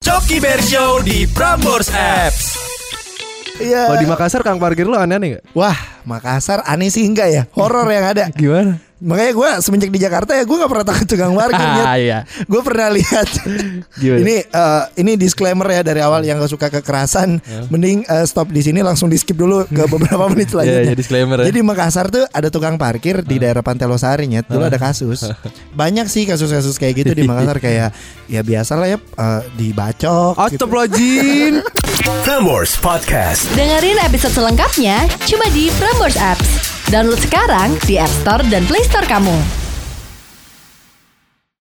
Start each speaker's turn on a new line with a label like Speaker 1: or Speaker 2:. Speaker 1: Rocky Bear Show di Prambors Apps.
Speaker 2: Iya.
Speaker 3: Kalau di Makassar Kang Parkir lu aneh-aneh gak?
Speaker 2: Wah, Makassar aneh sih enggak ya? Horor yang ada.
Speaker 3: Gimana?
Speaker 2: Makanya gue semenjak di Jakarta ya gue gak pernah takut tukang parkir.
Speaker 3: Ah,
Speaker 2: Nyet.
Speaker 3: iya.
Speaker 2: Gue pernah lihat.
Speaker 3: Gimana?
Speaker 2: ini eh, ini disclaimer ya dari awal yang gak suka kekerasan, mending eh, stop di sini langsung di skip dulu ke beberapa menit selanjutnya.
Speaker 3: Iya, iya, disclaimer ya.
Speaker 2: Jadi Makassar tuh ada tukang parkir di daerah Pantai Losari nyet. Dulu ada kasus. Banyak sih kasus-kasus kayak gitu di Makassar kayak ya biasalah ya eh, dibacok. gitu.
Speaker 3: Astagfirullahaladzim
Speaker 1: Prambors Podcast.
Speaker 4: Dengerin episode selengkapnya cuma di Prambors Apps. Download sekarang di App Store dan Play Store kamu.